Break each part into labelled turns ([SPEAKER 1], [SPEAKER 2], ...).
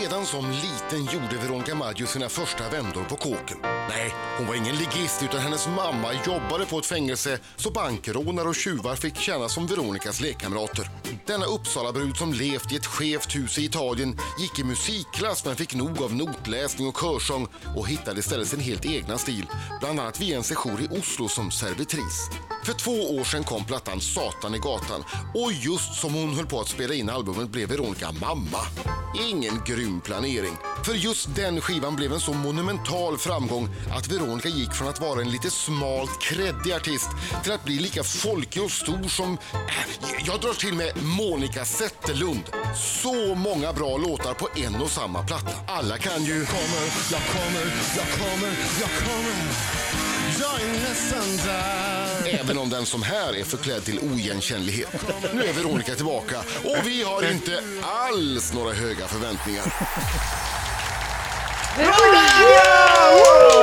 [SPEAKER 1] Redan som liten gjorde Veronica Maggio sina första vändor på kåken. Nej, hon var ingen ligist utan hennes mamma jobbade på ett fängelse så bankrånare och tjuvar fick tjäna som Veronicas lekkamrater. Denna Uppsalabrud som levt i ett skevt hus i Italien gick i musikklass men fick nog av notläsning och körsång och hittade istället sin helt egna stil, bland annat via en sejour i Oslo som servitris. För två år sedan kom plattan Satan i gatan och just som hon höll på att spela in albumet blev Veronica mamma. Ingen grym planering. För just den skivan blev en så monumental framgång att Veronica gick från att vara en lite smalt kreddig artist till att bli lika folkig och stor som, äh, jag drar till med Monica Zetterlund. Så många bra låtar på en och samma platta. Alla kan ju...
[SPEAKER 2] kommer, jag kommer, jag kommer, jag kommer. Jag är nästan där.
[SPEAKER 1] Även om den som här är förklädd till oigenkännlighet. Nu är Veronica tillbaka och vi har inte alls några höga förväntningar.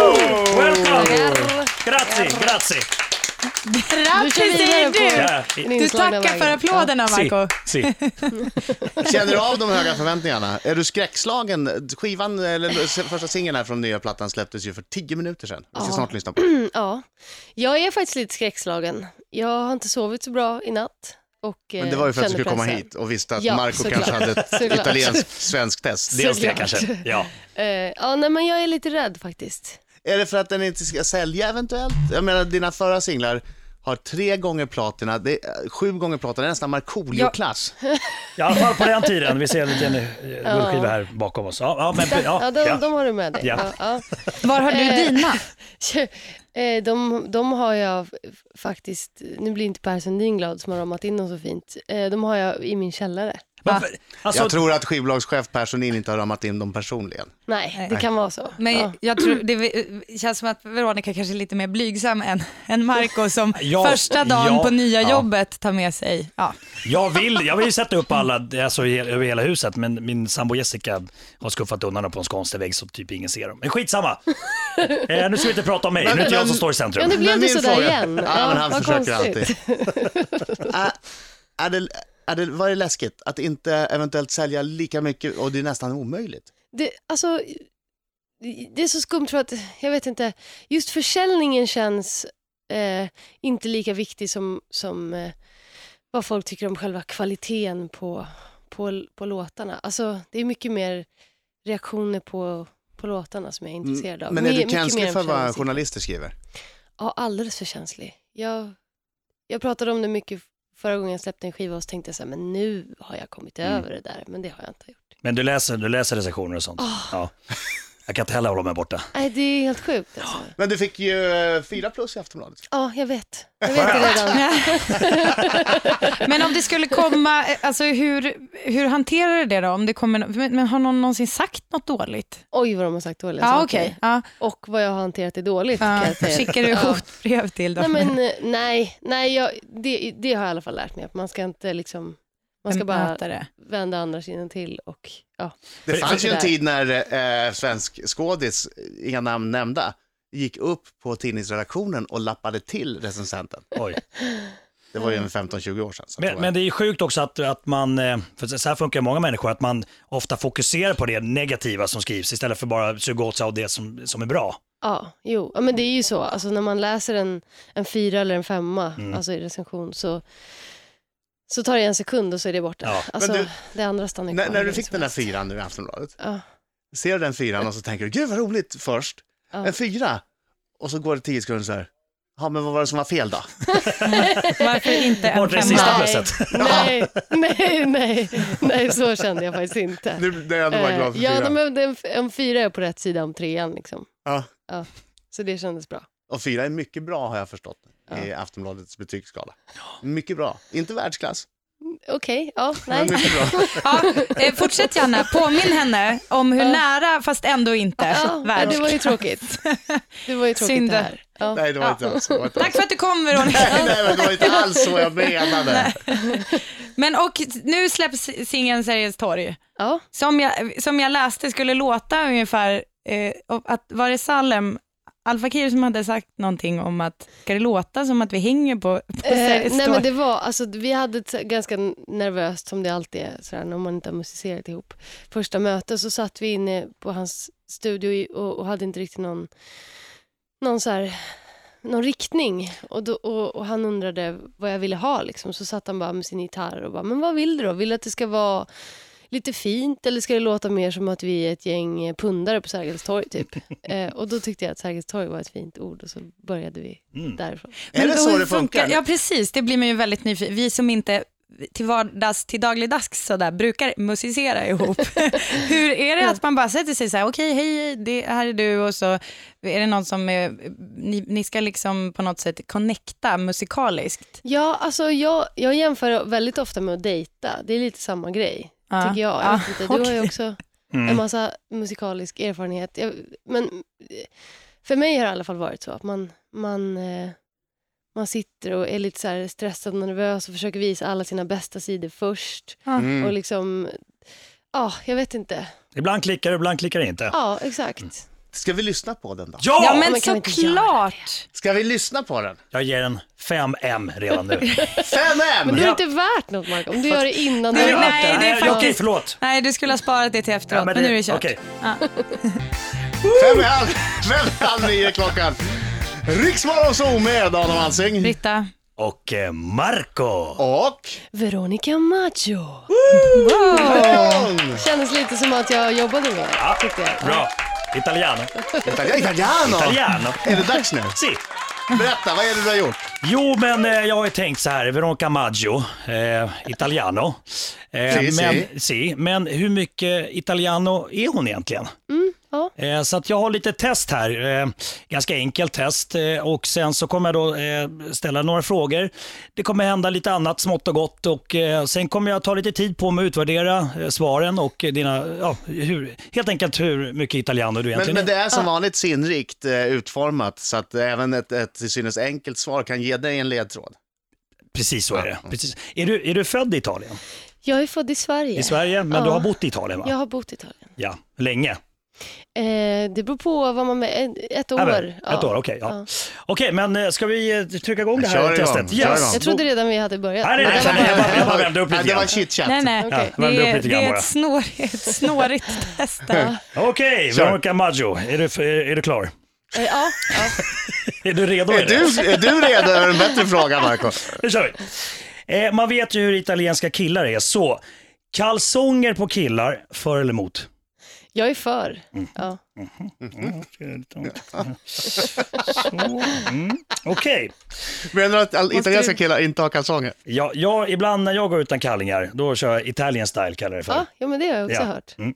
[SPEAKER 3] Welcome! Grazie, grazie.
[SPEAKER 4] Du
[SPEAKER 5] Grattis
[SPEAKER 4] kör
[SPEAKER 5] säger
[SPEAKER 4] vidare på-
[SPEAKER 5] du!
[SPEAKER 3] Ja, Äh, i-
[SPEAKER 4] Den
[SPEAKER 5] Du
[SPEAKER 4] inslagna
[SPEAKER 5] tackar för
[SPEAKER 4] vägen.
[SPEAKER 5] applåderna
[SPEAKER 3] si,
[SPEAKER 5] Marco.
[SPEAKER 3] si.
[SPEAKER 2] Känner du av de höga förväntningarna? Är du skräckslagen? Skivan, eller första singeln här från nya plattan släpptes ju för tio minuter sedan. Vi ska
[SPEAKER 4] Ja.
[SPEAKER 2] snart lyssna på den.
[SPEAKER 4] Ja, jag är faktiskt lite skräckslagen. Jag har inte sovit så bra i natt. Och,
[SPEAKER 2] Men det var ju för att
[SPEAKER 4] känner
[SPEAKER 2] du skulle komma
[SPEAKER 4] pressen.
[SPEAKER 2] hit och visste att
[SPEAKER 4] Ja,
[SPEAKER 2] Marco
[SPEAKER 4] såklart.
[SPEAKER 2] kanske hade ett
[SPEAKER 4] Såklart.
[SPEAKER 2] italiensk-svenskt test.
[SPEAKER 3] Dels det
[SPEAKER 4] Såklart.
[SPEAKER 3] kanske. Ja.
[SPEAKER 4] Eh, ja, nej, men jag är lite rädd faktiskt.
[SPEAKER 2] Är det för att den inte ska sälja eventuellt? Jag menar, dina förra singlar har tre gånger platina, det är eh, sju gånger platina, det är nästan Markoolio-klass.
[SPEAKER 3] I alla fall på den tiden. Vi ser en liten eh, guldskiva här bakom oss. Ja, ja, men,
[SPEAKER 4] Ja,
[SPEAKER 3] ja,
[SPEAKER 4] de,
[SPEAKER 3] ja.
[SPEAKER 4] de har du med dig.
[SPEAKER 3] Ja.
[SPEAKER 4] Ja,
[SPEAKER 5] Var har du
[SPEAKER 4] Eh,
[SPEAKER 5] dina?
[SPEAKER 4] ja. Eh, De, de har jag f- faktiskt, nu blir inte Per Sundin glad som har ramat in dem så fint. Eh, De har jag i min källare.
[SPEAKER 3] Varför- Alltså,
[SPEAKER 2] Jag tror att skivbolagschef Persson in inte har ramat in dem personligen.
[SPEAKER 4] Nej, det kan vara så.
[SPEAKER 5] Men
[SPEAKER 4] ja.
[SPEAKER 5] jag tror, det eh, känns som att Veronica kanske är lite mer blygsam än, än Marco som
[SPEAKER 3] Ja,
[SPEAKER 5] första dagen
[SPEAKER 3] ja,
[SPEAKER 5] på nya
[SPEAKER 3] ja.
[SPEAKER 5] jobbet tar med sig. Ja.
[SPEAKER 3] jag, vill, jag vill ju sätta upp alla alltså, i- över hela huset, men min sambo Jessica har skuffat undan dem på en skånstig vägg så typ ingen ser dem. Men skitsamma! eh, nu ska vi inte prata om mig, nu är det inte jag som står i
[SPEAKER 4] ja,
[SPEAKER 3] centrum.
[SPEAKER 4] nu blev
[SPEAKER 2] Men
[SPEAKER 4] det
[SPEAKER 2] min
[SPEAKER 4] sådär
[SPEAKER 2] fråga-
[SPEAKER 4] igen.
[SPEAKER 2] Ja, men han
[SPEAKER 4] vad
[SPEAKER 2] försöker
[SPEAKER 4] konstigt.
[SPEAKER 2] Ä- är det, är det, var det läskigt att inte eventuellt sälja lika mycket och det är nästan omöjligt?
[SPEAKER 4] Det, alltså, det är så skumt för att, jag vet inte, just försäljningen känns eh, inte lika viktig som, som eh, vad folk tycker om själva kvaliteten på, på, på låtarna. Alltså, det är mycket mer reaktioner på, på låtarna som jag är intresserad av.
[SPEAKER 2] Mm, Men
[SPEAKER 4] Mer-
[SPEAKER 2] är du
[SPEAKER 4] mycket mer
[SPEAKER 2] känslig
[SPEAKER 4] än
[SPEAKER 2] för vad
[SPEAKER 4] försäljningssiffror.
[SPEAKER 2] journalister skriver?
[SPEAKER 4] Ja, alldeles för känslig. Jag, jag pratade om det mycket förra gången jag släppte en skiva och så tänkte jag så här, men nu har jag kommit
[SPEAKER 2] Mm.
[SPEAKER 4] över det där, men det har jag inte gjort.
[SPEAKER 3] Men du läser, du läser recensioner och sånt? Ja. Jag kan inte heller hålla mig borta.
[SPEAKER 4] Nej, det är helt sjukt alltså.
[SPEAKER 2] Men du fick ju eh, fyra plus i Aftonbladet.
[SPEAKER 4] Ja, jag vet. Jag vet det redan.
[SPEAKER 5] Men om det skulle komma, eh, alltså hur, hur hanterar du det då? Om det kommer, no- men, men har någon någonsin sagt något dåligt?
[SPEAKER 4] Oj, vad de har sagt dåliga
[SPEAKER 5] Ja,
[SPEAKER 4] saker.
[SPEAKER 5] okej. Ja,
[SPEAKER 4] Och vad jag har hanterat det dåligt, kan
[SPEAKER 5] ja.
[SPEAKER 4] jag säga.
[SPEAKER 5] Skickar du
[SPEAKER 4] Ja.
[SPEAKER 5] hotbrev till
[SPEAKER 4] Nej,
[SPEAKER 5] dem?
[SPEAKER 4] men eh, nej, nej jag, det, det har jag i alla fall lärt mig. Att man ska inte liksom, man ska bara
[SPEAKER 5] Bemöta det.
[SPEAKER 4] vända andra sidan till och ja.
[SPEAKER 2] Det fanns ju
[SPEAKER 4] sådär.
[SPEAKER 2] en tid när eh, svensk skådis, inga namn nämnda, gick upp på tidningsredaktionen och lappade till recensenten.
[SPEAKER 3] Oj.
[SPEAKER 2] Det var ju en 15-20 år sedan. Så att det
[SPEAKER 3] Men,
[SPEAKER 2] var-
[SPEAKER 3] men det är sjukt också att, att man, eh, för så här funkar ju många människor, att man ofta fokuserar på det negativa som skrivs istället för bara suga åt sig av det som, som är bra.
[SPEAKER 4] Ja, jo. Ja, men det är ju så. Alltså, när man läser en, en fyra eller en femma
[SPEAKER 2] Mm.
[SPEAKER 4] alltså i recension så, så tar det en sekund och så är det borta.
[SPEAKER 3] Ja.
[SPEAKER 4] Alltså,
[SPEAKER 2] Men du-
[SPEAKER 4] det andra stannar kvar.
[SPEAKER 2] när, när du
[SPEAKER 4] hur
[SPEAKER 2] fick
[SPEAKER 4] som
[SPEAKER 2] den där
[SPEAKER 4] helst.
[SPEAKER 2] fyran nu i Aftonbladet,
[SPEAKER 4] Ja.
[SPEAKER 2] ser du den fyran och så tänker du, gud vad roligt först,
[SPEAKER 4] Ja.
[SPEAKER 2] en fyra, och så går det 10 sekunder så här, ja men vad var det som var fel då?
[SPEAKER 5] Varför inte en
[SPEAKER 3] Bort det sista.
[SPEAKER 5] femma?
[SPEAKER 3] presset.
[SPEAKER 4] Nej, nej, nej, nej, så kände jag faktiskt inte.
[SPEAKER 2] Nu blir jag ändå bara glad för
[SPEAKER 4] Eh, ja,
[SPEAKER 2] fyran.
[SPEAKER 4] de, de, en fyra är på rätt sida om trean liksom.
[SPEAKER 2] Ja.
[SPEAKER 4] Så det kändes bra.
[SPEAKER 2] Och fyra är mycket bra har jag förstått i Aftonbladets betygsskala. Mycket bra, inte världsklass,
[SPEAKER 4] Okej, ja, nej.
[SPEAKER 2] men mycket bra.
[SPEAKER 5] Ja, eh, fortsätt gärna, påminn henne om hur nära fast ändå inte
[SPEAKER 4] Ja, ja,
[SPEAKER 5] världs-
[SPEAKER 4] det var ju tråkigt. Det var ju tråkigt
[SPEAKER 5] Synd.
[SPEAKER 4] det här. Ja.
[SPEAKER 2] Nej, det var inte alls, det var inte
[SPEAKER 5] Tack
[SPEAKER 2] alls.
[SPEAKER 5] för att du kom Veronica.
[SPEAKER 2] Nej, nej, men det var inte alls så jag menade.
[SPEAKER 5] Men och nu släpps singeln Sergels torg.
[SPEAKER 4] Ja.
[SPEAKER 5] Som jag, som jag läste skulle låta ungefär, eh, och att var det Salem Alfa Kir som hade sagt någonting om att, ska det låta som att vi hänger på, på
[SPEAKER 4] Eh,
[SPEAKER 5] Sergels
[SPEAKER 4] nej
[SPEAKER 5] torg?
[SPEAKER 4] men det var, alltså, vi hade ett så- ganska nervöst som det alltid är sådär, när man inte har musicerat ihop. Första mötet så satt vi inne på hans studio i- och, och hade inte riktigt någon, någon, så här, någon riktning. Och, då, och, och han undrade vad jag ville ha liksom. Så satt han bara med sin gitarr och bara, men vad vill du då? Vill du att det ska vara lite fint eller ska det låta mer som att vi är ett gäng eh, pundare på Sergels torg typ? eh, och då tyckte jag att Sergels torg var ett fint ord och så började vi därifrån.
[SPEAKER 2] Är det
[SPEAKER 5] Men
[SPEAKER 2] så
[SPEAKER 5] hur
[SPEAKER 2] det funkar?
[SPEAKER 5] Ja, precis. Det blir man ju väldigt nyfiken Vi som inte till vardags, till dagligdags sådär, brukar musicera ihop. Hur är det att man bara sätter sig så här, okej, hej, det här är du och så är det någon som, eh, ni, ni ska liksom på något sätt connecta musikaliskt.
[SPEAKER 4] Ja, alltså jag, jag jämför väldigt ofta med att dejta. Det är lite samma grej,
[SPEAKER 5] Ja.
[SPEAKER 4] tycker jag. jag
[SPEAKER 5] Ja,
[SPEAKER 4] vet inte. Du har ju
[SPEAKER 5] okej. Mm.
[SPEAKER 4] också en massa musikalisk erfarenhet. Jag, men eh, för mig har det i alla fall varit så att man, man, eh, man sitter och är lite så här stressad och nervös och försöker visa alla sina bästa sidor först.
[SPEAKER 2] Mm.
[SPEAKER 4] Och liksom, ja, jag vet inte.
[SPEAKER 3] Ibland klickar det, ibland klickar det inte.
[SPEAKER 4] Ja, exakt.
[SPEAKER 2] Ska vi lyssna på den då?
[SPEAKER 3] Ja!
[SPEAKER 5] Ja,
[SPEAKER 4] men
[SPEAKER 5] men
[SPEAKER 4] kan vi inte göra
[SPEAKER 5] såklart.
[SPEAKER 2] Ska vi lyssna på den?
[SPEAKER 3] Jag ger en 5M redan nu.
[SPEAKER 2] 5M!
[SPEAKER 4] Men då är det
[SPEAKER 3] Ja.
[SPEAKER 4] inte värt något, Mark, om du gör det innan du
[SPEAKER 5] Nej,
[SPEAKER 4] har hört
[SPEAKER 5] nej, det är
[SPEAKER 3] Okej,
[SPEAKER 5] faktiskt-
[SPEAKER 3] förlåt.
[SPEAKER 5] Nej, du skulle ha sparat det till efteråt,
[SPEAKER 3] Ja,
[SPEAKER 5] men,
[SPEAKER 3] men
[SPEAKER 5] nu
[SPEAKER 3] det-
[SPEAKER 5] är det kört.
[SPEAKER 3] okej.
[SPEAKER 5] Ja.
[SPEAKER 2] Fem i halv, fem i halv nio klockan. Riksmorgon så med Dan och Alsing.
[SPEAKER 5] Britta,
[SPEAKER 3] Och eh, Marco.
[SPEAKER 2] Och...
[SPEAKER 4] Veronica Maggio.
[SPEAKER 2] Leon!
[SPEAKER 4] Kändes lite som att jag jobbade med det, tyckte jag.
[SPEAKER 3] Bra. Italiano.
[SPEAKER 2] Italiano. Italiano!
[SPEAKER 3] Italiano.
[SPEAKER 2] Är det dags nu?
[SPEAKER 3] Si.
[SPEAKER 2] Berätta, vad är det du har gjort?
[SPEAKER 3] Jo, men eh, jag har ju tänkt så här, Veronica Maggio, eh, italiano. Eh,
[SPEAKER 2] Si, si.
[SPEAKER 3] men, si, men hur mycket italiano är hon egentligen?
[SPEAKER 4] Mm, Ja.
[SPEAKER 3] Eh, Så att jag har lite test här, eh, ganska enkelt test eh, och sen så kommer jag då eh, ställa några frågor. Det kommer hända lite annat smått och gott och eh, sen kommer jag ta lite tid på mig att utvärdera eh, svaren och eh, dina, ja, hur, helt enkelt hur mycket italiano du
[SPEAKER 2] Men,
[SPEAKER 3] egentligen
[SPEAKER 2] men
[SPEAKER 3] är.
[SPEAKER 2] det är som vanligt sinnrikt eh, utformat så att även ett, ett till synes enkelt svar kan ge dig en ledtråd.
[SPEAKER 3] Precis så är det. Precis. Är, du, är du född i Italien?
[SPEAKER 4] Jag är född i Sverige.
[SPEAKER 3] I Sverige, men du
[SPEAKER 4] Ja.
[SPEAKER 3] har bott i Italien va?
[SPEAKER 4] Jag har bott i Italien.
[SPEAKER 3] Ja, länge.
[SPEAKER 4] Eh, det beror på vad man... Med, ett år.
[SPEAKER 3] Nej, men,
[SPEAKER 4] ja.
[SPEAKER 3] Ett år, okej. ja. Okej, men eh, ska vi eh, trycka igång det
[SPEAKER 2] Kör
[SPEAKER 3] här
[SPEAKER 2] igång,
[SPEAKER 3] testet?
[SPEAKER 2] kör igång.
[SPEAKER 4] Jag trodde redan vi hade börjat.
[SPEAKER 3] Nej, nej,
[SPEAKER 4] Men
[SPEAKER 3] nej, nej,
[SPEAKER 4] det var bara-
[SPEAKER 3] nej. Jag bara vände upp lite
[SPEAKER 2] Nej, det var
[SPEAKER 3] grann.
[SPEAKER 2] chitchat.
[SPEAKER 5] nej, nej.
[SPEAKER 4] Okej.
[SPEAKER 3] Värmde
[SPEAKER 5] Det,
[SPEAKER 3] upp
[SPEAKER 5] är,
[SPEAKER 3] lite
[SPEAKER 5] det
[SPEAKER 3] grann
[SPEAKER 5] är
[SPEAKER 3] bara.
[SPEAKER 5] ett snårigt, snårigt test. där.
[SPEAKER 3] Okej,
[SPEAKER 2] Kör.
[SPEAKER 3] Veronica Maggio, är du, är, är du klar?
[SPEAKER 4] Eh, Ja, ja.
[SPEAKER 3] Är du redo?
[SPEAKER 2] Är du, är du redo över en bättre fråga, Marco?
[SPEAKER 3] Nu kör vi. Eh, man vet ju hur italienska killar är, så kalsonger på killar, för eller emot?
[SPEAKER 4] Jag är för.
[SPEAKER 3] Mm.
[SPEAKER 4] Ja.
[SPEAKER 3] Så, Mm. Okej,
[SPEAKER 2] Menar du att all- italienska killar inte har kalsonger?
[SPEAKER 3] ja, jag, ibland när jag går utan kallingar, då kör jag Italian style kallar jag det för.
[SPEAKER 4] Ja, ja, men det har jag också
[SPEAKER 3] Ja.
[SPEAKER 4] hört.
[SPEAKER 3] Mm.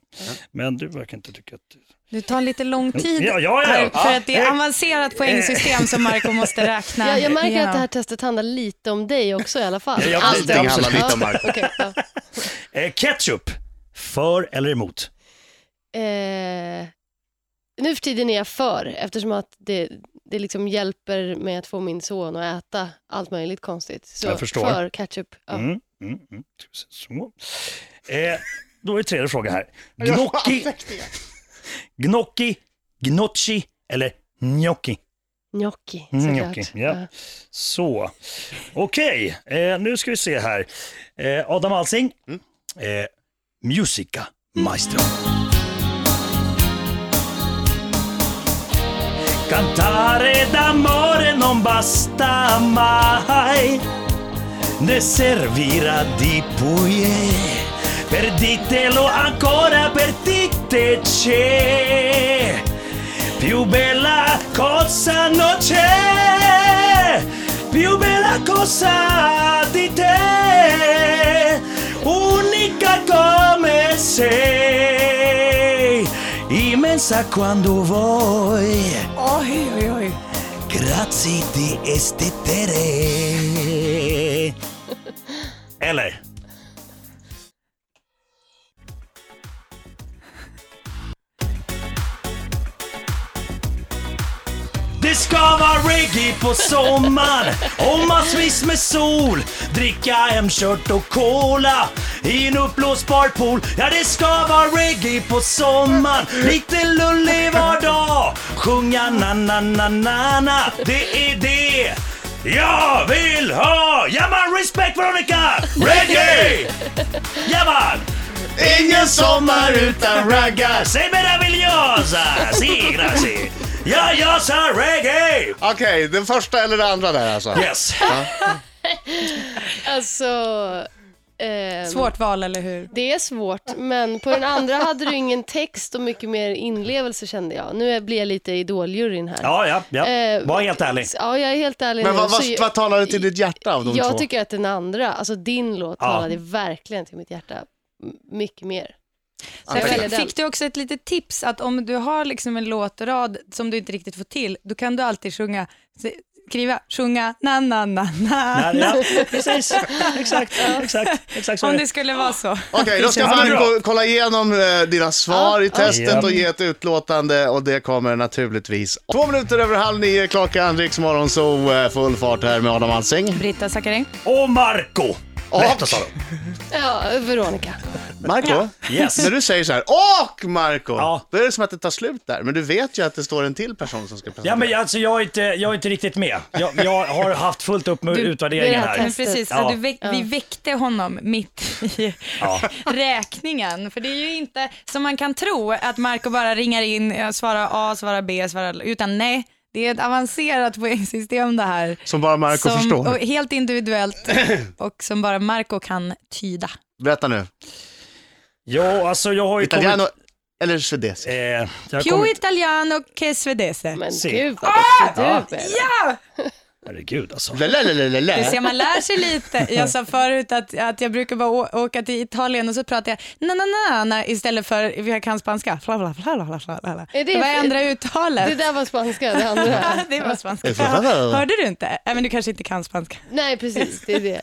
[SPEAKER 3] Men du verkar inte tycka att...
[SPEAKER 5] Det tar lite lång tid
[SPEAKER 3] Ja, ja, ja.
[SPEAKER 5] här, för
[SPEAKER 3] Ja.
[SPEAKER 5] att det är avancerat poängsystem som Marco måste räkna
[SPEAKER 4] Jag, jag märker att det
[SPEAKER 5] igenom.
[SPEAKER 4] här testet handlar lite om dig också i alla fall.
[SPEAKER 3] Ja, jag-
[SPEAKER 2] Allting handlar
[SPEAKER 3] absolut.
[SPEAKER 2] lite om Marco.
[SPEAKER 4] Okej, ja.
[SPEAKER 3] Eh, ketchup, för eller emot?
[SPEAKER 4] eh, nu för tiden är jag för, eftersom att det, det liksom hjälper mig att få min son att äta allt möjligt konstigt. Så
[SPEAKER 3] Jag förstår.
[SPEAKER 4] för ketchup. Ja.
[SPEAKER 3] Mm, mm, mm. Tusen Så. Eh, då är det tredje frågan här. Gnocchi, gnocchi, gnocchi eller gnocchi?
[SPEAKER 4] Gnocchi,
[SPEAKER 3] Mm,
[SPEAKER 4] såklart.
[SPEAKER 3] gnocchi, ja. Så, okej, eh, nu ska vi se här. Eh, Adam Alsing, eh, Musica Maestro. Cantare d'amore non basta mai, ne servirà di puie. Per ditelo ancora, per dite c'è più bella cosa non c'è, più bella cosa di te, unica come sei, immensa quando vuoi.
[SPEAKER 5] Oj, oj, oj.
[SPEAKER 3] Grazie di estetere. Eller? Det ska vara reggae på sommaren och massvis med sol. Dricka hemkört och cola i en uppblåsbar pool. Ja, det ska vara reggae på sommaren. Lite lullig var dag. Sjunga na-na-na-na-na. Det är det jag vill ha! Ja man, respect Veronica! Reggae! Ja man!
[SPEAKER 2] Ingen sommar utan raggas!
[SPEAKER 3] Se meravigliosa! Si, grazie! Ja, jag sa reggae!
[SPEAKER 2] Okej, den första eller den andra där alltså?
[SPEAKER 3] Yes.
[SPEAKER 4] Alltså... ehm,
[SPEAKER 5] Svårt val, eller hur?
[SPEAKER 4] Det är svårt, men på den andra hade du ingen text och mycket mer inlevelse kände jag. Nu är- blir jag lite idoljuryn här.
[SPEAKER 3] Ja, ja, ja.
[SPEAKER 4] Eh,
[SPEAKER 3] Var helt ärlig.
[SPEAKER 4] Ja, jag är helt ärlig
[SPEAKER 2] Men
[SPEAKER 4] nu.
[SPEAKER 2] vad,
[SPEAKER 4] Så
[SPEAKER 2] vad,
[SPEAKER 4] jag-
[SPEAKER 2] vad talar det till ditt hjärta av de
[SPEAKER 4] jag
[SPEAKER 2] två?
[SPEAKER 4] tycker att den andra, alltså din låt,
[SPEAKER 3] Ja.
[SPEAKER 4] talade verkligen till mitt hjärta. M- Mycket mer. Så
[SPEAKER 5] Sen
[SPEAKER 4] jag väljer
[SPEAKER 5] fick,
[SPEAKER 4] den.
[SPEAKER 5] fick du också ett litet tips att om du har liksom en låtrad som du inte riktigt får till, då kan du alltid sjunga, skriva, sjunga na na na na.
[SPEAKER 3] Ja, ja, precis. Exakt, exakt, exakt så är
[SPEAKER 5] Om
[SPEAKER 3] det.
[SPEAKER 5] det skulle vara så.
[SPEAKER 2] Okej, då ska
[SPEAKER 3] Ja,
[SPEAKER 2] Fanny
[SPEAKER 3] bra.
[SPEAKER 2] ko- kolla igenom eh, dina svar i testet
[SPEAKER 3] Ja.
[SPEAKER 2] och ge ett utlåtande och det kommer naturligtvis. Två minuter över halv nio klockan, Riks så eh, full fart här med Adam Alsing.
[SPEAKER 5] Britta Zackari.
[SPEAKER 3] Och Marco! Rätta sa de.
[SPEAKER 4] Ja, Veronica.
[SPEAKER 2] Marco,
[SPEAKER 3] Yes.
[SPEAKER 2] när du säger så här och Marco,
[SPEAKER 3] Ja.
[SPEAKER 2] då är det som att det tar slut där. Men du vet ju att det står en till person som ska presentera.
[SPEAKER 3] Ja, men jag- alltså, jag, är inte, jag är inte riktigt med. Jag, jag har haft fullt upp med utvärderingen
[SPEAKER 4] det är
[SPEAKER 3] här.
[SPEAKER 5] Men precis,
[SPEAKER 3] Ja.
[SPEAKER 5] ja. du väck, vi väckte honom mitt i
[SPEAKER 3] Ja.
[SPEAKER 5] räkningen. För det är ju inte som man kan tro att Marco bara ringar in, eh, svarar A, svarar B, svarar L. Utan nej, det är ett avancerat poängsystem det här.
[SPEAKER 2] Som bara Marco
[SPEAKER 5] Som-
[SPEAKER 2] förstår.
[SPEAKER 5] och helt individuellt och som bara Marco kan tyda.
[SPEAKER 2] Berätta nu.
[SPEAKER 3] Ja, alltså jag har ju
[SPEAKER 2] Italiano
[SPEAKER 3] kommit...
[SPEAKER 2] eller svedesi?
[SPEAKER 3] Eh, jag har
[SPEAKER 5] Più
[SPEAKER 3] kommit...
[SPEAKER 5] italiano che svedese.
[SPEAKER 4] Men
[SPEAKER 3] Se. Ah!
[SPEAKER 4] gud vad duktig du är.
[SPEAKER 5] Ja!
[SPEAKER 3] Herregud alltså.
[SPEAKER 5] Du ser,
[SPEAKER 2] Lalalala.
[SPEAKER 5] man lär sig lite. Jag sa förut att, att jag brukar bara å- åka till Italien och så pratar jag na na na, na istället för, för jag kan spanska. Fla, fla, fla, fla, fla, fla.
[SPEAKER 4] Är det-
[SPEAKER 5] Det var jag ändrar
[SPEAKER 4] Det
[SPEAKER 5] uttalet.
[SPEAKER 4] där var spanska, det andra.
[SPEAKER 5] Det var spanska.
[SPEAKER 2] Fla, fla, fla.
[SPEAKER 5] Hörde du inte? Nej, men du kanske inte kan spanska.
[SPEAKER 4] Nej, precis, det är det.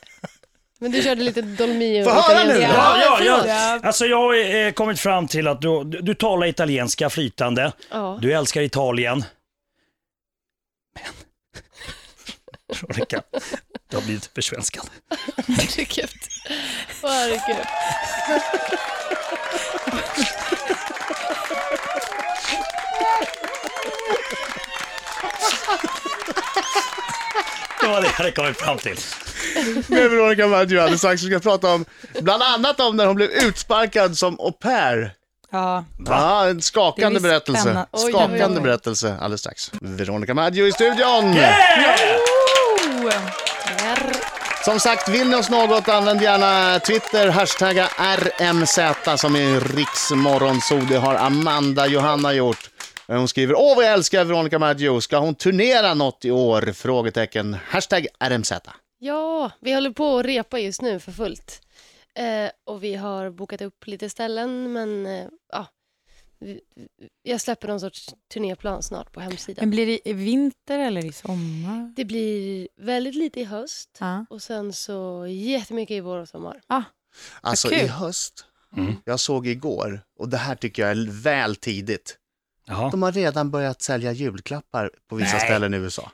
[SPEAKER 4] Men du körde lite Dolmio.
[SPEAKER 2] Få höra nu!
[SPEAKER 4] italienska.
[SPEAKER 3] Ja, ja, ja.
[SPEAKER 5] Ja.
[SPEAKER 3] Alltså jag har eh, kommit fram till att du, du, du talar italienska flytande.
[SPEAKER 4] Ja.
[SPEAKER 3] Du älskar Italien. Men... Veronica, du har blivit försvenskad.
[SPEAKER 4] Herregud. Herregud.
[SPEAKER 3] Det var det jag hade kommit fram till.
[SPEAKER 2] Med Veronica Maggio alldeles strax. Vi ska prata om, bland annat om när hon blev utsparkad som au pair.
[SPEAKER 5] Ja.
[SPEAKER 2] Ja, en skakande
[SPEAKER 5] Det blir
[SPEAKER 2] berättelse.
[SPEAKER 5] spännande.
[SPEAKER 4] Oj,
[SPEAKER 2] skakande
[SPEAKER 4] oj, oj.
[SPEAKER 2] berättelse alldeles strax. Veronica Maggio i studion!
[SPEAKER 5] Oh.
[SPEAKER 2] Som sagt, vill ni oss något, använd gärna Twitter, hashtagga RMZ som är riksmorgonso. Det har Amanda Johanna gjort. Hon skriver, åh vad jag älskar Veronica Maggio, ska hon turnera något i år? Frågetecken, hashtagg RMZ.
[SPEAKER 4] Ja, vi håller på att repa just nu för fullt. Eh, och vi har bokat upp lite ställen, men eh, ja. Vi- Jag släpper någon sorts turnéplan snart på hemsidan.
[SPEAKER 5] Men blir det i vinter eller i sommar?
[SPEAKER 4] Det blir väldigt lite i höst
[SPEAKER 5] Ja.
[SPEAKER 4] och sen så jättemycket i vår och sommar.
[SPEAKER 2] Alltså
[SPEAKER 5] Vad
[SPEAKER 2] i
[SPEAKER 5] kul.
[SPEAKER 2] höst, jag såg igår, och det här tycker jag är väl tidigt,
[SPEAKER 3] Jaha.
[SPEAKER 2] de har redan börjat sälja julklappar på vissa
[SPEAKER 3] Nej.
[SPEAKER 2] ställen i USA.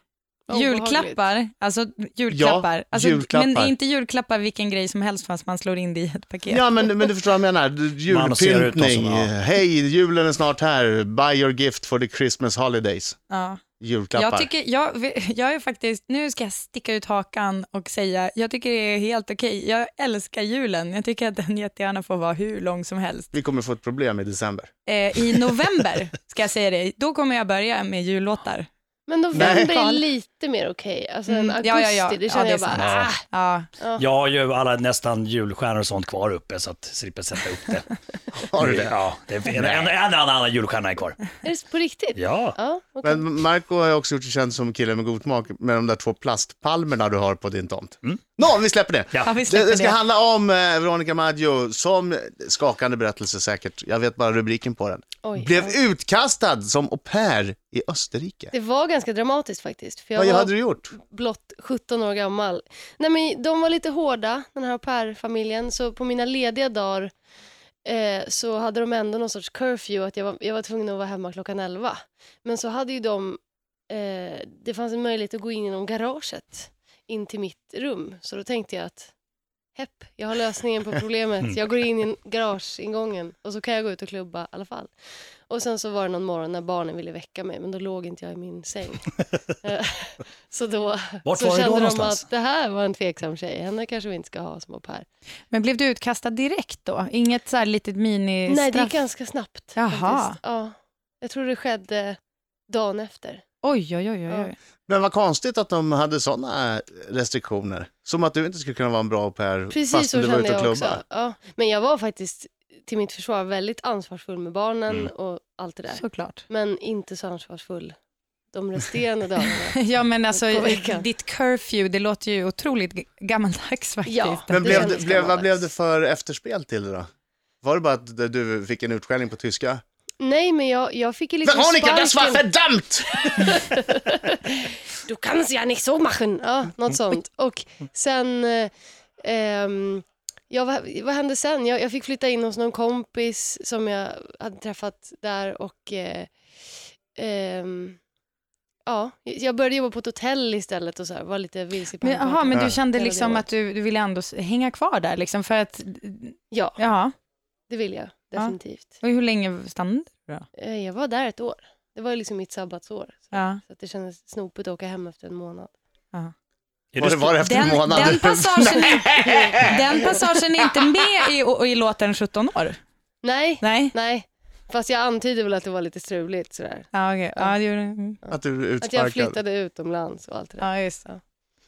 [SPEAKER 5] Julklappar, alltså julklappar.
[SPEAKER 2] Ja,
[SPEAKER 5] alltså,
[SPEAKER 2] julklappar.
[SPEAKER 5] Men inte julklappar vilken grej som helst fast man slår in det i ett paket.
[SPEAKER 2] Ja, men, men du förstår vad jag menar. Du-
[SPEAKER 3] Man ser ut och
[SPEAKER 2] Julpyntning.
[SPEAKER 3] så, ja.
[SPEAKER 2] Hej, julen är snart här. Buy your gift for the Christmas holidays.
[SPEAKER 5] Ja.
[SPEAKER 2] Julklappar.
[SPEAKER 5] Jag, tycker, jag, jag är faktiskt, nu ska jag sticka ut hakan och säga, jag tycker det är helt okej. Jag älskar julen. Jag tycker att den jättegärna får vara hur lång som helst.
[SPEAKER 2] Vi kommer få ett problem i december.
[SPEAKER 5] Eh, I november, ska jag säga det, då kommer jag börja med jullåtar.
[SPEAKER 4] Men november är
[SPEAKER 5] Nej.
[SPEAKER 4] lite mer okej. Alltså en
[SPEAKER 5] Mm,
[SPEAKER 4] augusti,
[SPEAKER 5] ja, ja, ja.
[SPEAKER 4] det
[SPEAKER 5] Ja,
[SPEAKER 4] känner
[SPEAKER 5] det är
[SPEAKER 4] jag bara,
[SPEAKER 3] sant.
[SPEAKER 4] ah,
[SPEAKER 5] Ja.
[SPEAKER 3] Jag har ju alla nästan julstjärnor och sånt kvar uppe så att slipper sätta upp det.
[SPEAKER 2] Har du det?
[SPEAKER 3] Ja, det är en, en, en, en annan julstjärna är kvar.
[SPEAKER 4] är det på riktigt?
[SPEAKER 3] Ja.
[SPEAKER 4] Ja, okej.
[SPEAKER 2] Men Marco har ju också gjort sig känd som killen med god smak med de där två plastpalmerna du har på din tomt.
[SPEAKER 3] Mm.
[SPEAKER 2] Nå, vi släpper det.
[SPEAKER 3] Ja.
[SPEAKER 5] Ja, vi
[SPEAKER 2] Det,
[SPEAKER 5] släpper
[SPEAKER 2] det ska
[SPEAKER 5] det.
[SPEAKER 2] handla om eh, Veronica Maggio, som skakande berättelse säkert. Jag vet bara rubriken på den.
[SPEAKER 4] Oj,
[SPEAKER 2] Blev
[SPEAKER 4] ja.
[SPEAKER 2] utkastad som au pair i Österrike.
[SPEAKER 4] Det var ganska dramatiskt faktiskt. För jag
[SPEAKER 2] Vad
[SPEAKER 4] var
[SPEAKER 2] hade du gjort?
[SPEAKER 4] blott 17 år gammal. Nej, men de var lite hårda, den här au pair-familjen, så på mina lediga dagar eh, så hade de ändå någon sorts curfew, att jag var, jag var tvungen att vara hemma klockan 11. Men så hade ju de eh, det fanns en möjlighet att gå in genom garaget in till mitt rum. Så då tänkte jag att hepp, jag har lösningen på problemet. Jag går in i garageingången och så kan jag gå ut och klubba i alla fall. Och sen så var det någon morgon när barnen ville väcka mig, men då låg inte jag i min säng. Eh, så då
[SPEAKER 3] Vart
[SPEAKER 4] så
[SPEAKER 3] var det då
[SPEAKER 4] kände de
[SPEAKER 3] någonstans?
[SPEAKER 4] att det här var en tveksam tjej, henne kanske vi inte ska ha som au pair.
[SPEAKER 5] Men blev du utkastad direkt då? Inget så här litet mini
[SPEAKER 4] Nej, det gick ganska snabbt.
[SPEAKER 5] Jaha.
[SPEAKER 4] faktiskt. Ja, jag tror det skedde dagen efter.
[SPEAKER 5] Oj, oj, oj. oj,
[SPEAKER 4] Ja.
[SPEAKER 5] oj.
[SPEAKER 2] Men vad konstigt att de hade sådana restriktioner. Som att du inte skulle kunna vara en bra au pair
[SPEAKER 4] Precis
[SPEAKER 2] fast
[SPEAKER 4] så
[SPEAKER 2] du var
[SPEAKER 4] kände
[SPEAKER 2] ute och
[SPEAKER 4] jag
[SPEAKER 2] klubbar.
[SPEAKER 4] också. Ja. Men jag var faktiskt, till mitt försvar, väldigt ansvarsfull med barnen
[SPEAKER 2] Mm.
[SPEAKER 4] och allt det där.
[SPEAKER 5] Såklart.
[SPEAKER 4] Men inte så ansvarsfull de resterande dagarna.
[SPEAKER 5] Ja, men alltså
[SPEAKER 4] På veckan.
[SPEAKER 5] ditt curfew, det låter ju otroligt g- gammaldags faktiskt.
[SPEAKER 4] Ja.
[SPEAKER 2] Men
[SPEAKER 4] Det
[SPEAKER 2] blev
[SPEAKER 4] kändes
[SPEAKER 2] det, blev, vad
[SPEAKER 4] gammaldags.
[SPEAKER 2] blev det för efterspel till det då? Var det bara att du fick en utskällning på tyska?
[SPEAKER 4] Nej, men jag, jag fick ju liksom
[SPEAKER 2] Veronica, das war
[SPEAKER 4] sparken.
[SPEAKER 2] verdammt!
[SPEAKER 4] Du kan ja nicht so machen. Ja, något sånt. Och sen, eh, ehm, ja, vad, vad hände sen? Jag, jag fick flytta in hos någon kompis som jag hade träffat där och eh, ehm, ja, jag började jobba på ett hotell istället och så här, var lite vilse i
[SPEAKER 5] Men,
[SPEAKER 4] pannan.
[SPEAKER 5] aha, men
[SPEAKER 2] Ja.
[SPEAKER 5] du kände
[SPEAKER 4] Hela
[SPEAKER 5] liksom
[SPEAKER 4] det
[SPEAKER 5] att du, du ville ändå s- hänga kvar där liksom för att,
[SPEAKER 4] Ja,
[SPEAKER 5] ja.
[SPEAKER 4] det vill jag definitivt.
[SPEAKER 5] Och hur länge stannade du då?
[SPEAKER 4] Eh, Jag var där ett år. Det var ju liksom mitt sabbatsår. Så,
[SPEAKER 5] Ja.
[SPEAKER 4] så att det kändes snopet att åka hem efter en månad.
[SPEAKER 3] Är
[SPEAKER 2] Var det
[SPEAKER 3] du-
[SPEAKER 2] bara efter en
[SPEAKER 5] Den,
[SPEAKER 2] månad?
[SPEAKER 5] den, passagen är, den passagen är inte med i, i låten 17 år?
[SPEAKER 4] Nej,
[SPEAKER 5] Nej?
[SPEAKER 4] nej. Fast jag antyder väl att det var lite struligt sådär.
[SPEAKER 5] Ja, okej. Ja, det gjorde mm.
[SPEAKER 2] Att du
[SPEAKER 4] Att jag
[SPEAKER 2] utsparkade.
[SPEAKER 4] flyttade utomlands och allt det där.
[SPEAKER 5] Ja, just det.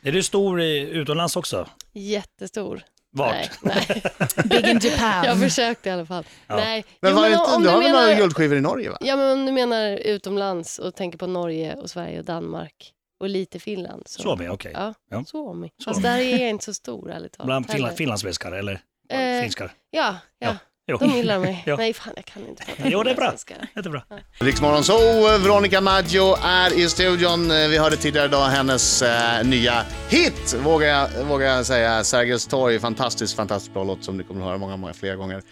[SPEAKER 3] Är du stor i, utomlands också?
[SPEAKER 4] Jättestor.
[SPEAKER 3] Vart?
[SPEAKER 4] Nej, nej.
[SPEAKER 5] Big in Japan.
[SPEAKER 4] jag försökte i alla fall.
[SPEAKER 3] Ja.
[SPEAKER 4] Nej.
[SPEAKER 2] Men
[SPEAKER 4] Jo,
[SPEAKER 2] var det
[SPEAKER 4] men
[SPEAKER 2] inte,
[SPEAKER 4] om
[SPEAKER 2] du har väl några
[SPEAKER 4] menar,
[SPEAKER 2] guldskivor i Norge va?
[SPEAKER 4] ja, men om du menar utomlands och tänker på Norge och Sverige och Danmark och lite Finland. Så,
[SPEAKER 3] Suomi, okej.
[SPEAKER 4] Ja,
[SPEAKER 3] Ja.
[SPEAKER 4] Suomi.
[SPEAKER 3] Suomi.
[SPEAKER 4] Fast där är jag inte så stor ärligt talat.
[SPEAKER 3] Bland finla,
[SPEAKER 4] heller.
[SPEAKER 3] finlandssvenskar eller
[SPEAKER 4] Eh,
[SPEAKER 3] finskar?
[SPEAKER 4] Ja, ja,
[SPEAKER 3] Jo.
[SPEAKER 4] de gillar mig.
[SPEAKER 3] Ja.
[SPEAKER 4] Nej, fan jag kan inte prata
[SPEAKER 3] Jo, det är bra.
[SPEAKER 4] finlandssvenska.
[SPEAKER 3] Jättebra.
[SPEAKER 2] Riksmorgon så eh, Veronica Maggio är i studion. Eh, Vi hörde tidigare idag hennes eh, nya hit, vågar jag, vågar jag säga. Sergels torg, fantastiskt, fantastiskt bra låt som du kommer att höra många, många fler gånger.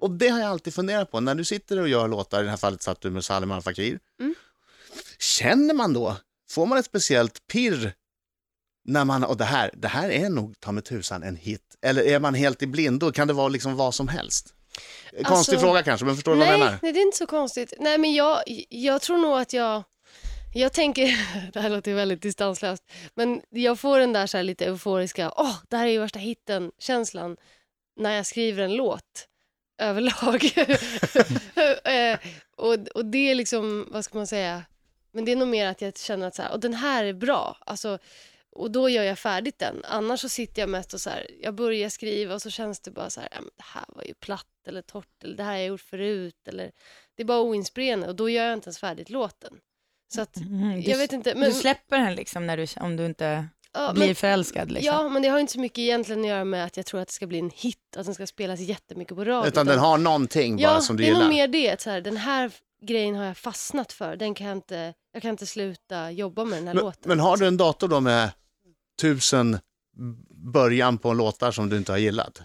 [SPEAKER 2] Och det har jag alltid funderat på, när du sitter och gör låtar, i det här fallet satt du med Salim Al Fakir.
[SPEAKER 4] Mm.
[SPEAKER 2] Känner man då, får man ett speciellt pirr när man, och det här, det här är nog ta mig tusan en hit. Eller är man helt i blindo? Kan det vara liksom vad som helst? Konstig
[SPEAKER 4] Alltså-
[SPEAKER 2] fråga kanske, men förstår du vad jag
[SPEAKER 4] nej,
[SPEAKER 2] menar?
[SPEAKER 4] nej, det är inte så konstigt. Nej, men jag, jag tror nog att jag... Jag tänker, det här låter ju väldigt distanslöst, men jag får den där så här lite euforiska, åh, det här är ju värsta hitten-känslan när jag skriver en låt överlag. Eh, och, och det är liksom, vad ska man säga, men det är nog mer att jag känner att så här, och den här är bra, alltså, och då gör jag färdigt den. Annars så sitter jag mest och så här, jag börjar skriva och så känns det bara så här, "Ja, men det här var ju platt eller torrt eller det här har jag gjort förut eller det är bara oinspirerande och då gör jag inte ens färdigt låten. Så att,
[SPEAKER 5] Mm, du,
[SPEAKER 4] jag vet inte, men,
[SPEAKER 5] du släpper den liksom när du, om du inte
[SPEAKER 4] ja,
[SPEAKER 5] blir
[SPEAKER 4] men,
[SPEAKER 5] förälskad. Liksom.
[SPEAKER 4] ja, men det har ju inte så mycket egentligen att göra med att jag tror att det ska bli en hit, att den ska spelas jättemycket på radio.
[SPEAKER 2] Utan den har någonting bara
[SPEAKER 4] ja,
[SPEAKER 2] som du
[SPEAKER 4] det är
[SPEAKER 2] gillar.
[SPEAKER 4] nog mer det, att så här, den här grejen har jag fastnat för, den kan jag inte, jag kan inte sluta jobba med den här
[SPEAKER 2] men,
[SPEAKER 4] låten.
[SPEAKER 2] men har du en dator då med tusen början på låtar som du inte har gillat?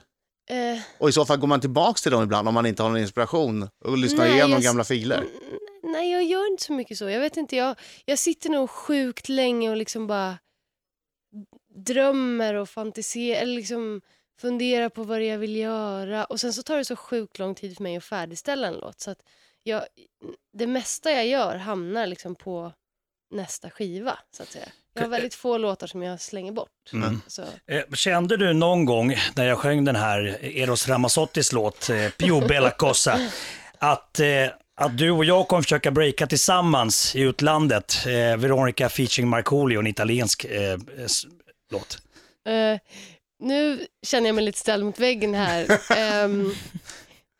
[SPEAKER 4] Eh,
[SPEAKER 2] Och i så fall går man tillbaks till dem ibland om man inte har någon inspiration och lyssnar
[SPEAKER 4] Nej,
[SPEAKER 2] igenom
[SPEAKER 4] jag-
[SPEAKER 2] gamla filer.
[SPEAKER 4] Mm, Nej, jag gör inte så mycket så. Jag vet inte, jag, jag sitter nog sjukt länge och liksom bara drömmer och fantiserar, eller liksom funderar på vad det är jag vill göra. Och sen så tar det så sjukt lång tid för mig att färdigställa en låt. Så att jag, det mesta jag gör hamnar liksom på nästa skiva, så att säga. Jag har väldigt få låtar som jag slänger bort.
[SPEAKER 3] Mm.
[SPEAKER 4] Så,
[SPEAKER 3] Eh, Kände du någon gång när jag sjöng den här Eros Ramazottis låt, eh, Pio Bella Cosa, att, eh, att du och jag kommer försöka breaka tillsammans i utlandet? Eh, Veronica featuring Markoolio, en italiensk eh, s- låt.
[SPEAKER 4] Eh, nu känner jag mig lite ställd mot väggen här. Ehm,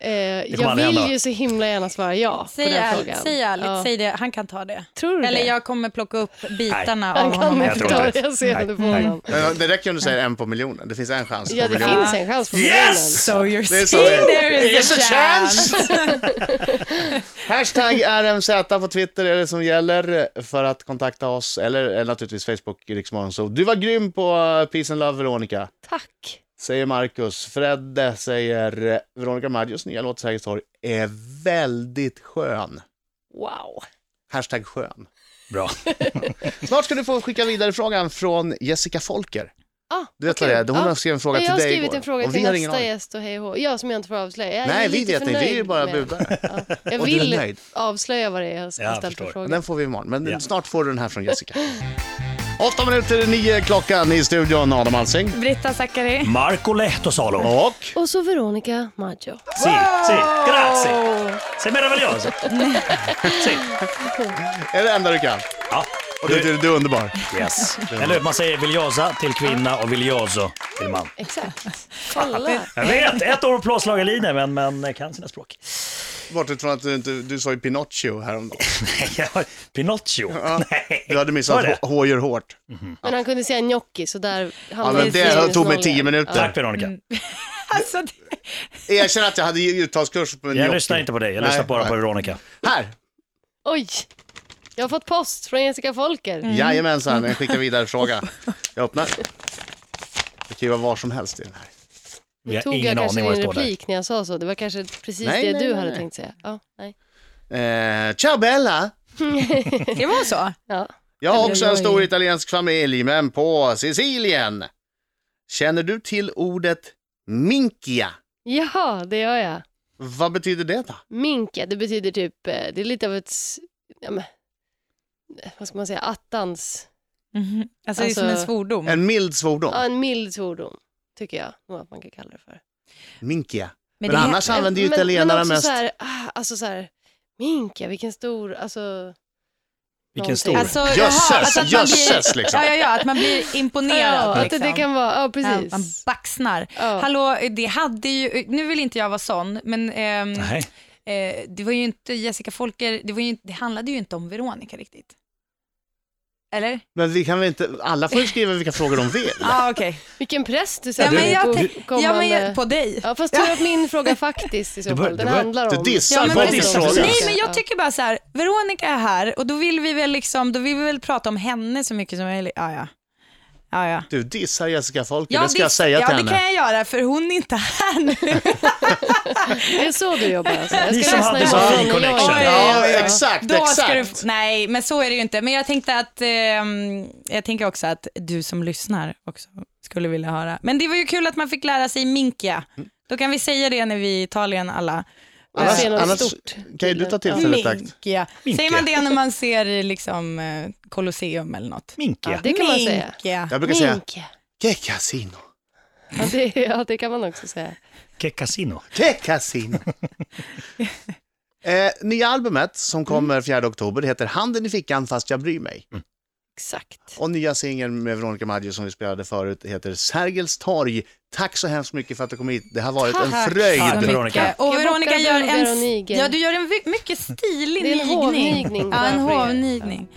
[SPEAKER 4] eh, jag
[SPEAKER 3] aldrig
[SPEAKER 4] vill
[SPEAKER 3] hända.
[SPEAKER 4] ju så himla gärna svara ja på
[SPEAKER 5] Säg,
[SPEAKER 4] den
[SPEAKER 5] ärligt,
[SPEAKER 4] frågan.
[SPEAKER 5] säg ärligt,
[SPEAKER 4] Ja.
[SPEAKER 5] säg det. Han kan ta det.
[SPEAKER 4] Tror du
[SPEAKER 5] Eller
[SPEAKER 4] det?
[SPEAKER 5] jag kommer plocka upp bitarna
[SPEAKER 4] Han
[SPEAKER 5] av honom
[SPEAKER 4] kan inte
[SPEAKER 3] tror
[SPEAKER 5] efteråt.
[SPEAKER 4] ta
[SPEAKER 3] inte
[SPEAKER 4] det,
[SPEAKER 3] det.
[SPEAKER 4] jag ser det på
[SPEAKER 3] Nej.
[SPEAKER 4] honom.
[SPEAKER 2] Men Det räcker om du säger en på miljonen, det finns en chans
[SPEAKER 4] Mm. Ja,
[SPEAKER 2] på
[SPEAKER 4] det
[SPEAKER 2] miljonen.
[SPEAKER 4] finns en chans på
[SPEAKER 3] Yes!
[SPEAKER 5] So you're
[SPEAKER 2] Det är
[SPEAKER 5] saying
[SPEAKER 2] så det är.
[SPEAKER 5] there is a
[SPEAKER 2] There's a chance.
[SPEAKER 5] chance.
[SPEAKER 2] Hashtag RMZ på Twitter är det som gäller för att kontakta oss, eller, eller naturligtvis Facebook i Rix Morgon. Så Du var grym på eh, Peace and Love Veronica,
[SPEAKER 4] Tack.
[SPEAKER 2] säger Marcus. Fredde säger eh, Veronica Maggios nya låt Sergels torg är väldigt skön.
[SPEAKER 4] Wow.
[SPEAKER 2] Hashtag skön.
[SPEAKER 3] Bra.
[SPEAKER 2] Snart ska du få skicka vidare frågan från Jessica Folker.
[SPEAKER 4] Ah,
[SPEAKER 2] Du vet
[SPEAKER 4] okej.
[SPEAKER 2] vad det är? Hon
[SPEAKER 4] Ja.
[SPEAKER 2] har skrivit en
[SPEAKER 4] Ja,
[SPEAKER 2] fråga till
[SPEAKER 4] jag har
[SPEAKER 2] dig
[SPEAKER 4] skrivit
[SPEAKER 2] igår.
[SPEAKER 4] en fråga
[SPEAKER 2] Och
[SPEAKER 4] till
[SPEAKER 2] vi har ingen
[SPEAKER 4] nästa
[SPEAKER 2] aning.
[SPEAKER 4] gäst och hej och hå. Jag som jag inte får avslöja. Jag är
[SPEAKER 2] Nej, vi
[SPEAKER 4] lite
[SPEAKER 2] vet
[SPEAKER 4] för
[SPEAKER 2] inte. Vi är
[SPEAKER 4] nöjd
[SPEAKER 2] ju bara
[SPEAKER 4] med-
[SPEAKER 2] budare.
[SPEAKER 4] Ja. Jag
[SPEAKER 2] Och du är
[SPEAKER 4] vill
[SPEAKER 2] nöjd.
[SPEAKER 4] avslöja vad det är jag har
[SPEAKER 3] Ja,
[SPEAKER 4] ställt för
[SPEAKER 3] förstår.
[SPEAKER 4] fråga.
[SPEAKER 2] Den får vi imorgon, men
[SPEAKER 3] Ja.
[SPEAKER 2] snart får du den här från Jessica. Åtta minuter i nio är klockan i studion, Adam Alsing.
[SPEAKER 5] Britta Zackari.
[SPEAKER 3] Marco Lehtosalo.
[SPEAKER 2] Och
[SPEAKER 4] Och så Veronica Maggio.
[SPEAKER 3] Si, si, grazie. Sei meraviglioso. si.
[SPEAKER 2] är det enda du kan.
[SPEAKER 3] Ja.
[SPEAKER 2] Och du, du, du är underbar.
[SPEAKER 3] Yes. Eller hur? Man säger viljosa till kvinna och viljoso till man.
[SPEAKER 4] Exakt. Kolla.
[SPEAKER 3] Jag vet, ett år på plåtslagarlinjen men, men eh, kan sina språk.
[SPEAKER 2] Bortsett från att du, inte- du sa ju Pinocchio häromdagen.
[SPEAKER 3] Jag- Pinocchio. Nej.
[SPEAKER 2] Du hade
[SPEAKER 3] Var
[SPEAKER 2] missat
[SPEAKER 3] det?
[SPEAKER 2] hå- hår gör hårt.
[SPEAKER 4] Men han kunde säga gnocchi så där
[SPEAKER 2] Ja,
[SPEAKER 4] hamnade
[SPEAKER 2] men det
[SPEAKER 4] Fredrik
[SPEAKER 2] tog mig
[SPEAKER 4] noll
[SPEAKER 2] tio
[SPEAKER 4] igen.
[SPEAKER 2] minuter.
[SPEAKER 3] Tack Veronica.
[SPEAKER 2] Mm.
[SPEAKER 5] Alltså, det-
[SPEAKER 2] Erkänn att jag hade ju uttalskurs på en
[SPEAKER 3] Jag
[SPEAKER 2] jockey.
[SPEAKER 3] lyssnar inte på dig, jag
[SPEAKER 2] Nej,
[SPEAKER 3] lyssnar bara
[SPEAKER 2] nej.
[SPEAKER 3] på Veronica.
[SPEAKER 2] Här!
[SPEAKER 4] Oj! Jag har fått post från Jessica Folker.
[SPEAKER 3] Mm.
[SPEAKER 2] Jajamensan, en skicka vidare fråga. Jag öppnar. Det kan ju vara var som helst i den här.
[SPEAKER 3] Vi har
[SPEAKER 4] Tog
[SPEAKER 3] ingen
[SPEAKER 4] jag kanske
[SPEAKER 3] aning vad
[SPEAKER 4] din
[SPEAKER 3] det står där.
[SPEAKER 4] replik när jag sa så? Det var kanske precis
[SPEAKER 2] Nej,
[SPEAKER 4] det
[SPEAKER 2] nej,
[SPEAKER 4] du
[SPEAKER 2] nej,
[SPEAKER 4] hade
[SPEAKER 2] nej.
[SPEAKER 4] tänkt säga. Ja, nej.
[SPEAKER 2] Eh, ciao Bella!
[SPEAKER 5] det var så.
[SPEAKER 4] Ja.
[SPEAKER 2] Jag har också en
[SPEAKER 5] Oj.
[SPEAKER 2] stor italiensk familj, men på Sicilien. Känner du till ordet minkia?
[SPEAKER 4] Jaha, det gör jag.
[SPEAKER 2] Vad betyder det då?
[SPEAKER 4] Minka, det betyder typ, eh, det är lite av ett, s- ja, men, eh, vad ska man säga, attans,
[SPEAKER 5] Mhm. Alltså, det är
[SPEAKER 4] Alltså-
[SPEAKER 5] som en svordom.
[SPEAKER 2] En mild svordom.
[SPEAKER 4] ja, en mild svordom, tycker jag nog att man kan kalla det för.
[SPEAKER 2] Minkia.
[SPEAKER 5] Men
[SPEAKER 2] Men
[SPEAKER 5] det-
[SPEAKER 2] annars använder ju
[SPEAKER 4] Men-
[SPEAKER 2] italienarna
[SPEAKER 4] men också
[SPEAKER 2] mest...
[SPEAKER 4] Så här, ah, alltså så här, minka, vilken stor, alltså,
[SPEAKER 3] Vilken stor.
[SPEAKER 5] Alltså, jaha,
[SPEAKER 2] Jösses,
[SPEAKER 5] alltså att man blir-
[SPEAKER 2] jösses, liksom.
[SPEAKER 5] Ja, ja, ja, att man blir imponerad.
[SPEAKER 4] ja, att det,
[SPEAKER 5] liksom.
[SPEAKER 4] det kan vara, ja
[SPEAKER 5] Ja, man
[SPEAKER 4] precis.
[SPEAKER 5] baxnar.
[SPEAKER 4] Ja.
[SPEAKER 5] Hallå, det hade ju, nu vill inte jag vara sån, men ehm,
[SPEAKER 3] Nej.
[SPEAKER 5] eh, det var ju inte Jessica Folker, det, var ju, inte- det handlade ju inte om Veronica riktigt. Eller?
[SPEAKER 2] Men vi kan väl inte... Alla får ju skriva vilka frågor de vill.
[SPEAKER 5] Ja, ah, okej.
[SPEAKER 4] Vilken press du
[SPEAKER 5] Ja,
[SPEAKER 4] sätter
[SPEAKER 5] men jag,
[SPEAKER 4] på
[SPEAKER 5] tänk- ja,
[SPEAKER 4] kommande...
[SPEAKER 5] men jag, på dig.
[SPEAKER 4] Ja, fast tror jag att min fråga faktiskt i
[SPEAKER 3] Du
[SPEAKER 4] så
[SPEAKER 3] bör- du
[SPEAKER 4] fall, den
[SPEAKER 3] bör-
[SPEAKER 4] handlar
[SPEAKER 2] du
[SPEAKER 4] om...
[SPEAKER 2] dissar
[SPEAKER 5] Ja, men
[SPEAKER 3] Bara
[SPEAKER 5] precis.
[SPEAKER 3] dissa frågan.
[SPEAKER 5] Nej, men
[SPEAKER 4] Ja.
[SPEAKER 5] jag tycker bara så här, Veronica är här och då vill vi väl liksom, då vill vi väl prata om henne så mycket som möjligt. Ja, ja. Ja, ja.
[SPEAKER 2] Du dissar Jessica Folker,
[SPEAKER 5] Ja,
[SPEAKER 2] det ska jag
[SPEAKER 5] visst.
[SPEAKER 2] säga
[SPEAKER 5] ja,
[SPEAKER 2] till
[SPEAKER 5] det
[SPEAKER 2] henne.
[SPEAKER 5] kan jag göra för hon är inte här nu.
[SPEAKER 4] Det är så du jobbar alltså. Jag
[SPEAKER 3] Ni
[SPEAKER 4] ska
[SPEAKER 3] som
[SPEAKER 4] lyssna
[SPEAKER 3] hade så fin
[SPEAKER 4] imorgon när jag är
[SPEAKER 3] connection.
[SPEAKER 4] här.
[SPEAKER 2] Ja, exakt,
[SPEAKER 5] Då ska du,
[SPEAKER 2] exakt.
[SPEAKER 5] nej, men så är det ju inte. Men jag tänkte att, ehm, jag tänker också att du som lyssnar också skulle vilja höra. Men det var ju kul att man fick lära sig minkia. Då kan vi säga det när vi är i Italien alla.
[SPEAKER 4] Jag
[SPEAKER 2] Annars,
[SPEAKER 4] ser något
[SPEAKER 2] annars
[SPEAKER 4] stort.
[SPEAKER 2] kan ju du ta tillfället i akt.
[SPEAKER 5] Minkia.
[SPEAKER 3] Minkia.
[SPEAKER 5] Säger man det när man ser eh, liksom eh, Colosseum eller något?
[SPEAKER 3] Minkia.
[SPEAKER 4] Ja, det kan man säga.
[SPEAKER 5] Minkia.
[SPEAKER 2] Jag brukar säga,
[SPEAKER 4] Mink.
[SPEAKER 2] que casino,
[SPEAKER 4] Ja det, ja, det kan man också säga.
[SPEAKER 3] Che casino.
[SPEAKER 2] que casino. eh, nya albumet som kommer 4 oktober heter Handen i fickan fast jag bryr mig.
[SPEAKER 4] Exakt.
[SPEAKER 2] Och nya singeln med Veronica Maggio som vi spelade förut heter Sergels torg. Tack så hemskt mycket för att du kom hit. Det har varit en
[SPEAKER 5] Tack
[SPEAKER 3] så
[SPEAKER 2] fröjd.
[SPEAKER 3] mycket.
[SPEAKER 5] Veronica. Och
[SPEAKER 4] Jag
[SPEAKER 5] Veronica
[SPEAKER 4] bockar
[SPEAKER 5] gör
[SPEAKER 4] bulgar
[SPEAKER 5] en,
[SPEAKER 4] och nigel.
[SPEAKER 5] ja, du gör en vi- mycket stilig
[SPEAKER 4] Det är en
[SPEAKER 5] nigning.
[SPEAKER 4] hovnigning
[SPEAKER 5] Ja, en
[SPEAKER 4] bara för er.
[SPEAKER 5] hovnigning.